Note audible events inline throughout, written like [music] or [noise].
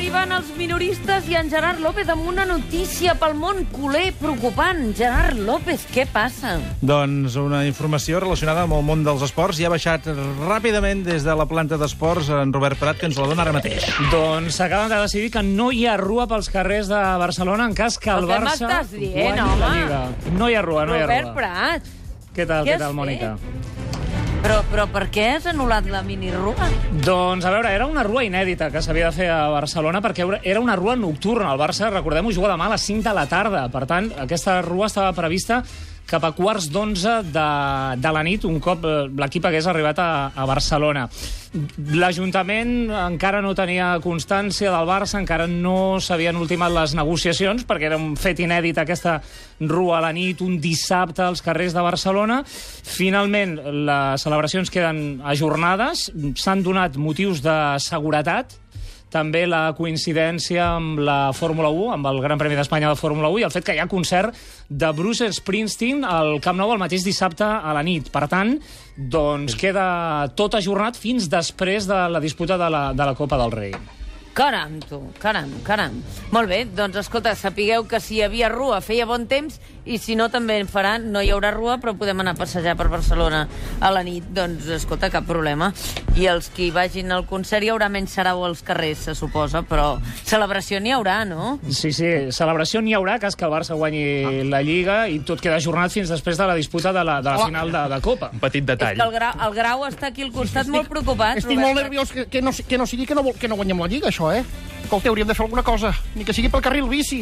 juguen els minoristes i en Gerard López amb una notícia pel món culer preocupant. Gerard López, què passa? Doncs una informació relacionada amb el món dels esports i ha baixat ràpidament des de la planta d'esports en Robert Prat, que ens la dona ara mateix. Doncs s'acaben de decidir que no hi ha rua pels carrers de Barcelona en cas que el Però què Barça... m'estàs dient, guanyi la home? Lliga. No hi ha rua, no hi ha Robert rua. Prat. Què tal, Què què, has tal, Mònica? Però, però per què has anul·lat la minirrua? Doncs, a veure, era una rua inèdita que s'havia de fer a Barcelona perquè era una rua nocturna. El Barça, recordem-ho, juga demà a les 5 de la tarda. Per tant, aquesta rua estava prevista cap a quarts d'onze de, de la nit, un cop eh, l'equip hagués arribat a, a Barcelona. L'Ajuntament encara no tenia constància del Barça, encara no s'havien ultimat les negociacions, perquè era un fet inèdit aquesta rua a la nit, un dissabte als carrers de Barcelona. Finalment, les celebracions queden ajornades, s'han donat motius de seguretat, també la coincidència amb la Fórmula 1, amb el Gran Premi d'Espanya de Fórmula 1, i el fet que hi ha concert de Bruce Springsteen al Camp Nou el mateix dissabte a la nit. Per tant, doncs queda tot ajornat fins després de la disputa de la, de la Copa del Rei. Caram, tu, caram, caram. Molt bé, doncs escolta, sapigueu que si hi havia rua feia bon temps i si no també en farà, no hi haurà rua, però podem anar a passejar per Barcelona a la nit, doncs escolta, cap problema. I els que vagin al concert hi haurà menys sarau als carrers, se suposa, però celebració n'hi haurà, no? Sí, sí, celebració n'hi haurà, cas que el Barça Ah. guanyi la Lliga i tot queda ajornat fins després de la disputa de la, Oh. de la final de, de Copa. Un petit És detall. que el grau, el grau està aquí al costat molt preocupat. Estic Robert. molt nerviós que, que, no, que no sigui que no, vol- que no guanyem la Lliga, això, eh? Escolta, hauríem de fer alguna cosa, ni que sigui pel carril bici.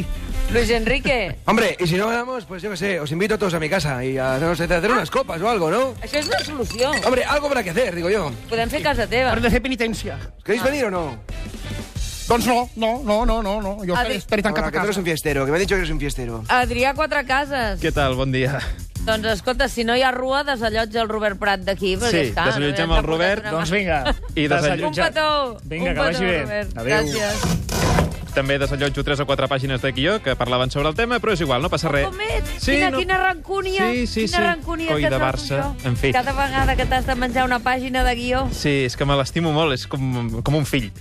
Luis Enrique, Hombre, y si no ganamos, pues yo qué sé, os invito a todos a mi casa y a no sé, hacer unas copas o algo, ¿no? això és una solució. Hombre, algo habrá que hacer, digo yo. Ah. Podem fer casa teva. Hem de fer penitència. ¿Queréis venir o no? Doncs no, no, no, no, no, no. Jo A estaré, ver- estaré tancat Ahora, a que tú eres casa. un fiestero, que me ha dicho que eres un fiestero. Adrià Quatre Cases. Què tal? Bon dia. Doncs escolta, si no hi ha rua, desallotja el Robert Prat d'aquí, perquè Sí, està... desallotgem el Robert, Doncs vinga, I Un desallotjat. petó. un Vinga, que vagi petó, bé. Robert. Adéu. Gràcies. També desallotjo 3 o 4 pàgines de guió que parlaven sobre el tema, però és igual, no passa res. Com ets? quina, quina rancúnia. Sí, sí, quina sí. rancúnia Coi que de saps Barça. això. En fi. Cada vegada que t'has de menjar una pàgina de guió. Sí, és que me l'estimo molt, és com, com un fill.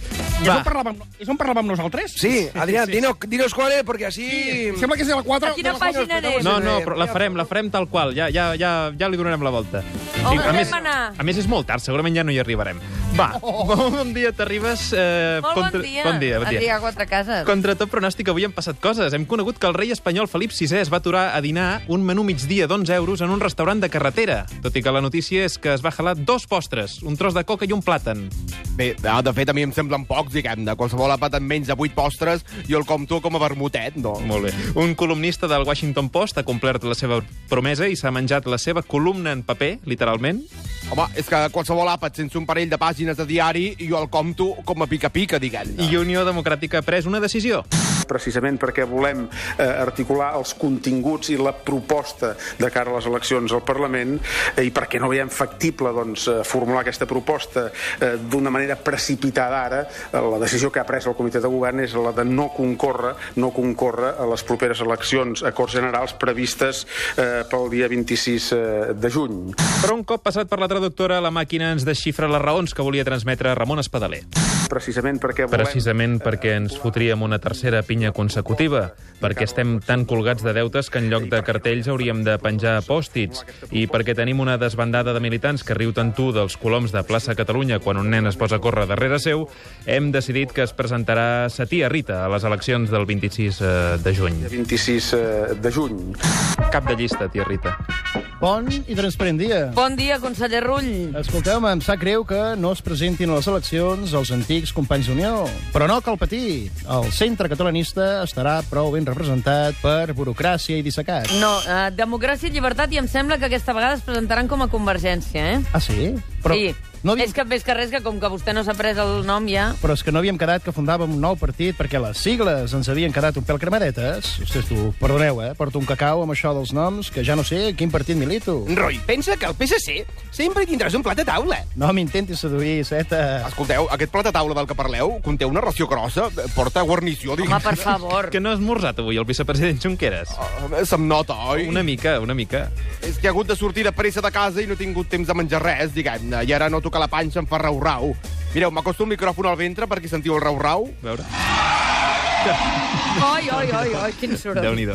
És on, parlàvem, és on parlàvem nosaltres? Sí, Adrián, dino- dinos cuál es, porque así... Em Sembla que és de la 4... A quina de la pàgina anem? No, no, però la farem, la farem tal qual, ja, ja, ja, ja li donarem la volta. I, a, podem més, anar? Oh. a més, és molt tard, segurament ja no hi arribarem. Va, bon dia, t'arribes... Eh, Molt contra- bon dia. Bon dia, bon dia. Adrià Quatre Cases. Contra tot pronòstic, avui han passat coses. Hem conegut que el rei espanyol Felip VI es va aturar a dinar un menú migdia d'11 euros en un restaurant de carretera, tot i que la notícia és que es va jalar dos postres, un tros de coca i un plàtan. Bé, no, de fet, a mi em semblen pocs, diguem-ne. Qualsevol àpat amb menys de 8 postres, jo el compto com a vermutet, no? Molt bé. Un columnista del Washington Post ha complert la seva promesa i s'ha menjat la seva columna en paper, literalment. Home, és que qualsevol àpat sense un parell de pàgines de diari, jo el compto com a pica-pica, diguem-ne. I Unió Democràtica ha pres una decisió. precisament perquè volem eh, articular els continguts i la proposta de cara a les eleccions al Parlament eh, i perquè no veiem factible doncs, eh, formular aquesta proposta eh, d'una manera precipitada ara, eh, la decisió que ha pres el Comitè de Govern és la de no concórrer, no concórrer a les properes eleccions a Corts Generals previstes eh, pel dia 26 eh, de juny. Però un cop passat per la traductora, la màquina ens desxifra les raons que volia transmetre Ramon Espadaler. Precisament perquè volem... Precisament perquè ens fotríem una tercera pinya consecutiva, perquè estem tan colgats de deutes que en lloc de cartells hauríem de penjar pòstits, i perquè tenim una desbandada de militants que riu tant tu dels coloms de plaça Catalunya quan un nen es posa a córrer darrere seu, hem decidit que es presentarà Satia Rita a les eleccions del 26 eh, de juny. 26 eh, de juny. Cap de llista, tia Rita. Bon i transparent dia. Bon dia, conseller Rull. Escolteu-me, em sap greu que no es presentin a les eleccions els antics companys d'Unió, però no cal patir. El centre catalanista estarà prou ben representat per burocràcia i dissecats. No, eh, democràcia i llibertat, i em sembla que aquesta vegada es presentaran com a convergència, eh? Ah, sí? Però, sí. No És havíem... que més que res que com que vostè no s'ha pres el nom ja... Però és que no havíem quedat que fundàvem un nou partit perquè les sigles ens havien quedat un pèl cremadetes. Ostres, tu, perdoneu, eh? Porto un cacau amb això dels noms, que ja no sé quin partit milito. Roy, pensa que el PSC sempre tindràs un plat de taula. No m'intentis seduir, Seta. Escolteu, aquest plat de taula del que parleu conté una ració grossa, porta guarnició, Home, diguem [laughs] per favor. Que no ha esmorzat avui el vicepresident Junqueras? Uh, se'm nota, oi? Una mica, una mica. És que he hagut de sortir de pressa de casa i no he tingut temps de menjar res, diguem-ne, i ara no toca la panxa em fa rau-rau. Mireu, m'acosto el micròfon al ventre perquè sentiu el rau-rau. A veure. Oi, oi, oi, oi, quin soroll. Déu-n'hi-do.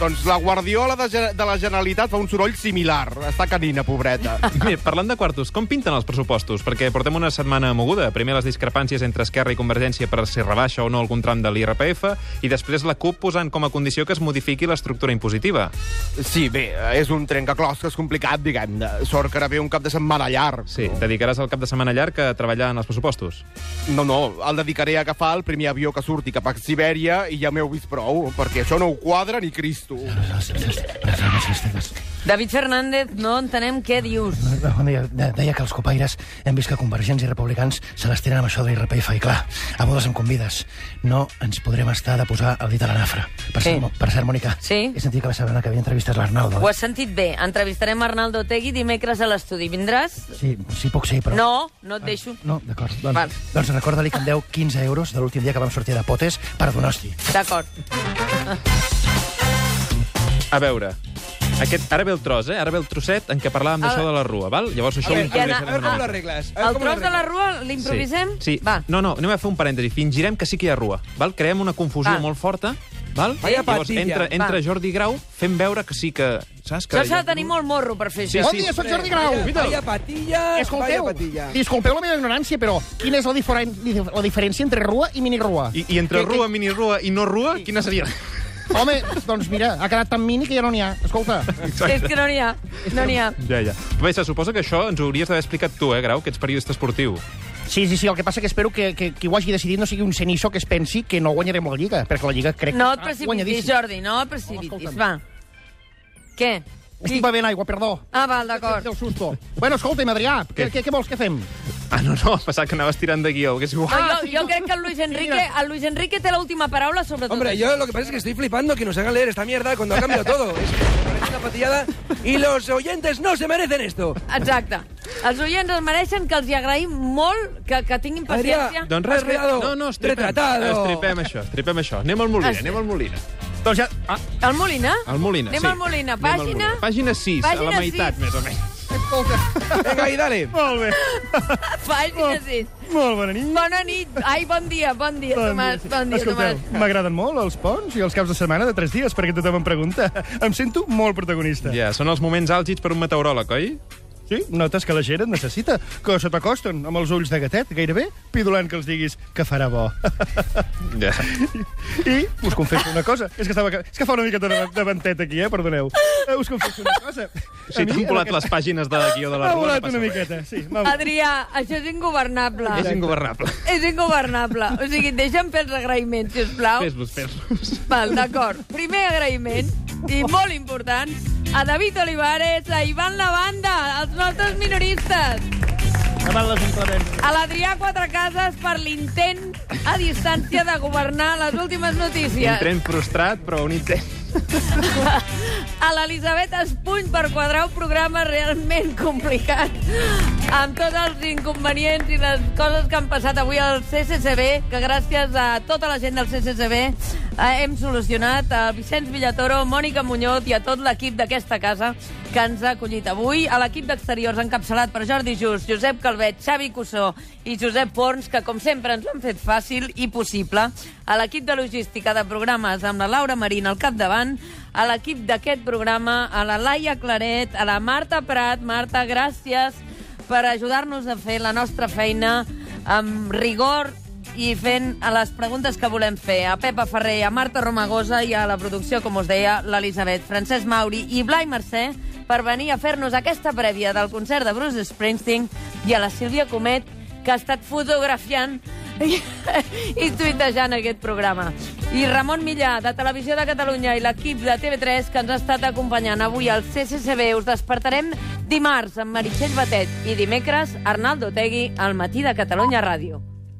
doncs la guardiola de, Ge- de la Generalitat fa un soroll similar. Està canina, pobreta. [laughs] Bé, parlant de quartos, com pinten els pressupostos? Perquè portem una setmana moguda. Primer les discrepàncies entre Esquerra i Convergència per si rebaixa o no algun tram de l'IRPF i després la CUP posant com a condició que es modifiqui l'estructura impositiva. Sí, bé, eh, és un trencaclosques complicat, diguem-ne. Sort que ara ve un cap de setmana llarg. Sí, Oh. dedicaràs el cap de setmana llarg a treballar en els pressupostos. No, no, el dedicaré a agafar el primer avió que surti cap a Sibèria i ja m'heu vist prou, perquè això no ho quadra ni Cristo. David Fernández, no entenem què dius. Deia, de- deia que els copaires hem vist que convergents i republicans se les tenen amb això de l'IRPF i clar, a bodes em convides no ens podrem estar de posar el dit a la nafra per, Sí. sí. cert, per cert, Mònica Sí. he sentit que la setmana que havia entrevistat l'Arnaldo Ho has sentit bé. Entrevistarem Arnaldo Tegui dimecres a l'estudi. Vindràs? sí, sí, puc ser, però... No, no et deixo. No, d'acord. Val. Doncs, doncs recorda-li que em deu 15 euros de l'últim dia que vam sortir de potes per donar-hi. D'acord. A veure, aquest, ara ve el tros, eh? Ara ve el trosset en què parlàvem Ah. d'això de la rua, val? Llavors això A ho veure, improvisarem ja una na- mica. ah, regles. El tros de la rua l'improvisem? Sí. sí. Va. No, no, anem a fer un parèntesi. Fingirem que sí que hi ha rua. Val? Creem una confusió Va. molt forta. Val? Vaya Llavors patilla. entra, entra Va. Jordi Grau fent veure que sí que... Saps? Que Això s'ha de tenir molt morro per fer Sí, això. Bon dia, soc Jordi Grau. Vaya patilla, vaya Escolteu, patilla. disculpeu la meva ignorància, però quina és la, diferen la diferència entre rua i minirua? I, I entre rua, minirua i no rua, quina seria? Home, doncs mira, ha quedat tan mini que ja no n'hi ha. Escolta, [laughs] És que no n'hi ha, no n'hi ha. [laughs] Ja, ja. Bé, se suposa que això ens ho hauries d'haver explicat tu, eh, Grau, que ets periodista esportiu. sí, sí, sí, el que passa que espero que, que qui ho hagi decidit no sigui un cenizo que es pensi que no guanyarem la Lliga, perquè la Lliga crec No et que està precipitis, guanyadíssima. Jordi, no et precipitis. Escolta'm. Va. Què? Estic bevent aigua, perdó. Ah, val, d'acord. Del susto. Bueno, escolta'm, Adrià, què, Què? què, què vols que fem? Ah, no, no, pensava que anaves tirant de guió, que és No, igual. jo, jo crec que el Luis Enrique, el Luis Enrique té l'última paraula sobre tot Hombre, això. yo lo que pasa es que estoy flipando que nos hagan leer esta mierda cuando ha cambiado todo. Es que me parece una patillada y los oyentes no se merecen esto. Exacte. Els oients es mereixen que els hi agraïm molt que, que tinguin paciència. Adrià, Doncs res, Has quedado no, no, estripem, retratado. estripem això, estripem això. Anem al Molina, Has- anem al Molina. Doncs ja... Ah, El Molina? al Molina, Anem sí. al Molina. Anem al Pàgina? Pàgina 6, a Pàgina la meitat, sis. més o menys. Venga, y dale. Molt bé, Pàgina 6. molt bona nit. Bona nit. Ai, bon dia, bon dia, Tomàs. Bon dia, Escolteu, Tomàs. m'agraden molt els ponts i els caps de setmana de 3 dies, perquè tothom em pregunta. Em sento molt protagonista. Ja, són els moments àlgids per un meteoròleg, oi? Sí, notes que la gent et necessita, que se t'acosten amb els ulls de gatet, gairebé, pidolant que els diguis que farà bo. [laughs] Ja. I us confesso una cosa, és que, estava, ca- és que fa una mica de, de ventet aquí, eh, perdoneu. Eh, Us confesso una cosa. Si t'han volat les pàgines de guió de la M'ha rua, volat una miqueta, sí. m'ha volat. Adrià, això és ingovernable. És ingovernable. És ingovernable. O sigui, deixa'm fer els agraïments, sisplau. Fes-los, fes-los. Val, d'acord. Primer agraïment, i molt important, a David Olivares, a Ivan Lavanda, als nostres minoristes. Davant l'Ajuntament. A l'Adrià Quatrecases per l'intent a distància de governar les últimes Un notícies. tren frustrat, però un intent. A l'Elisabet Espuny per quadrar un programa realment complicat amb tots els inconvenients i les coses que han passat avui al CCCB, que gràcies a tota la gent del CCCB eh, hem solucionat a Vicenç Villatoro, Mònica Muñoz i a tot l'equip d'aquesta casa que ens ha acollit avui. A l'equip d'exteriors encapçalat per Jordi Just, Josep Calvet, Xavi Cussó i Josep Forns, que com sempre ens ho han fet fàcil i possible. A l'equip de logística de programes amb la Laura Marín al capdavant, a l'equip d'aquest programa, a la Laia Claret, a la Marta Prat. Marta, gràcies per ajudar-nos a fer la nostra feina amb rigor i fent a les preguntes que volem fer a Pepa Ferrer, a Marta Romagosa i a la producció, com us deia, l'Elisabet, Francesc Mauri i Blai Mercè per venir a fer-nos aquesta prèvia del concert de Bruce Springsteen i a la Sílvia Comet, que ha estat fotografiant i, i tuitejant aquest programa. I Ramon Millà, de Televisió de Catalunya i l'equip de TV3 que ens ha estat acompanyant avui al CCCB. Us despertarem dimarts amb Meritxell Batet i dimecres Arnaldo Tegui al Matí de Catalunya Ràdio.